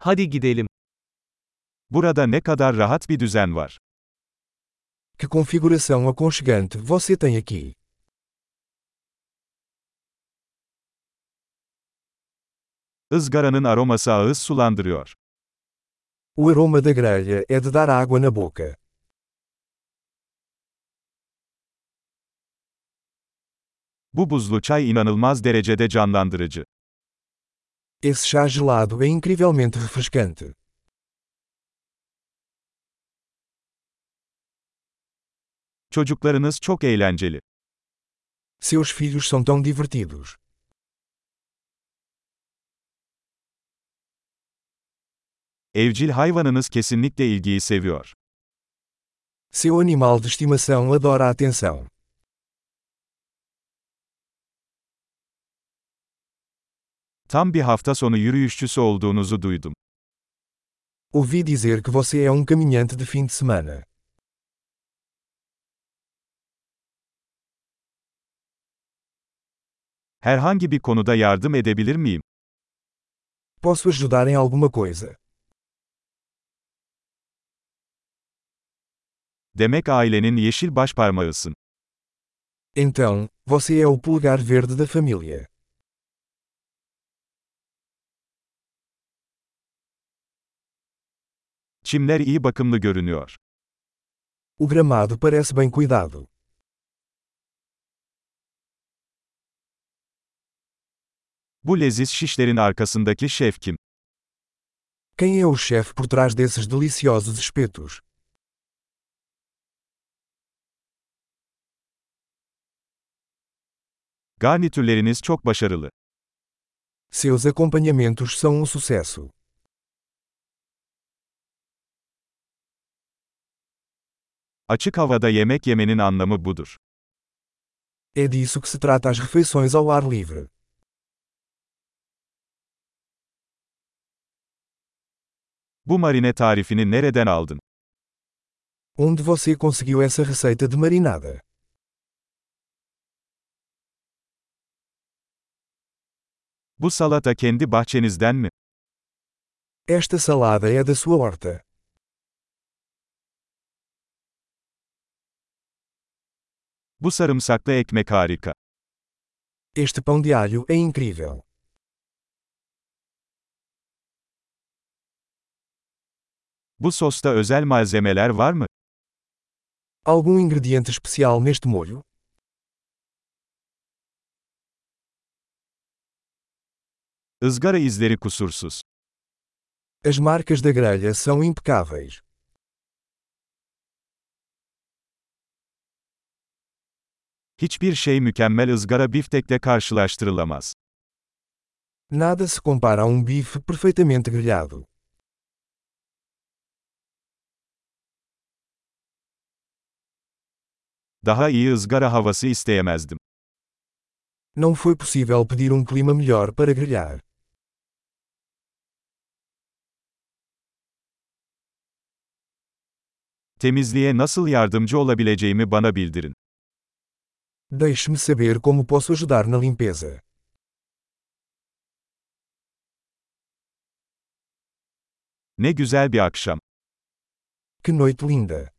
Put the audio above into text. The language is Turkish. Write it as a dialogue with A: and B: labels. A: Hadi gidelim.
B: Burada ne kadar rahat bir düzen var.
C: Que configuração aconchegante você tem aqui.
B: Izgaranın aroması ağız sulandırıyor.
C: O aroma da grelha é de dar água na boca.
B: Bu buzlu çay inanılmaz derecede canlandırıcı.
C: Esse chá gelado é incrivelmente refrescante.
B: Çocuklarınız çok eğlenceli.
C: Seus filhos são tão divertidos.
B: Evcil hayvanınız kesinlikle ilgiyi seviyor.
C: Seu animal de estimação adora a atenção.
B: Tam bir hafta sonu yürüyüşçüsü olduğunuzu duydum.
C: Ouvi dizer que você é um caminhante de fim de semana.
B: Herhangi bir konuda yardım edebilir miyim?
C: Posso ajudar em alguma coisa?
B: Demek ailenin yeşil başparmağısın.
C: Então, você é o polegar verde da família.
B: Çimler iyi bakımlı görünüyor.
C: O gramado parece bem cuidado.
B: Bu leziz şişlerin arkasındaki şef kim?
C: Quem é o chefe por trás desses deliciosos espetos?
B: Garnitürleriniz çok başarılı.
C: Seus acompanhamentos são um sucesso.
B: Açık havada yemek yemenin anlamı budur.
C: É disso que se trata as refeições ao ar livre.
B: Bu marine tarifini nereden aldın?
C: Onde você conseguiu essa receita de marinada?
B: Bu salata kendi bahçenizden mi?
C: Esta salada é da sua horta.
B: Bu sarımsaklı ekmek harika.
C: Este pão de alho é incrível.
B: Bu sosta özel malzemeler var mı?
C: Algum ingrediente especial neste molho?
B: Izgara izleri kusursuz.
C: As marcas da grelha são impecáveis.
B: Hiçbir şey mükemmel ızgara biftekle karşılaştırılamaz.
C: Nada se compara a um bife perfeitamente grelhado.
B: Daha iyi ızgara havası isteyemezdim.
C: Não foi possível pedir um clima melhor para grelhar.
B: Temizliğe nasıl yardımcı olabileceğimi bana bildirin.
C: Deixe-me saber como posso ajudar na limpeza.
B: Ne güzel bir akşam.
C: Que noite linda!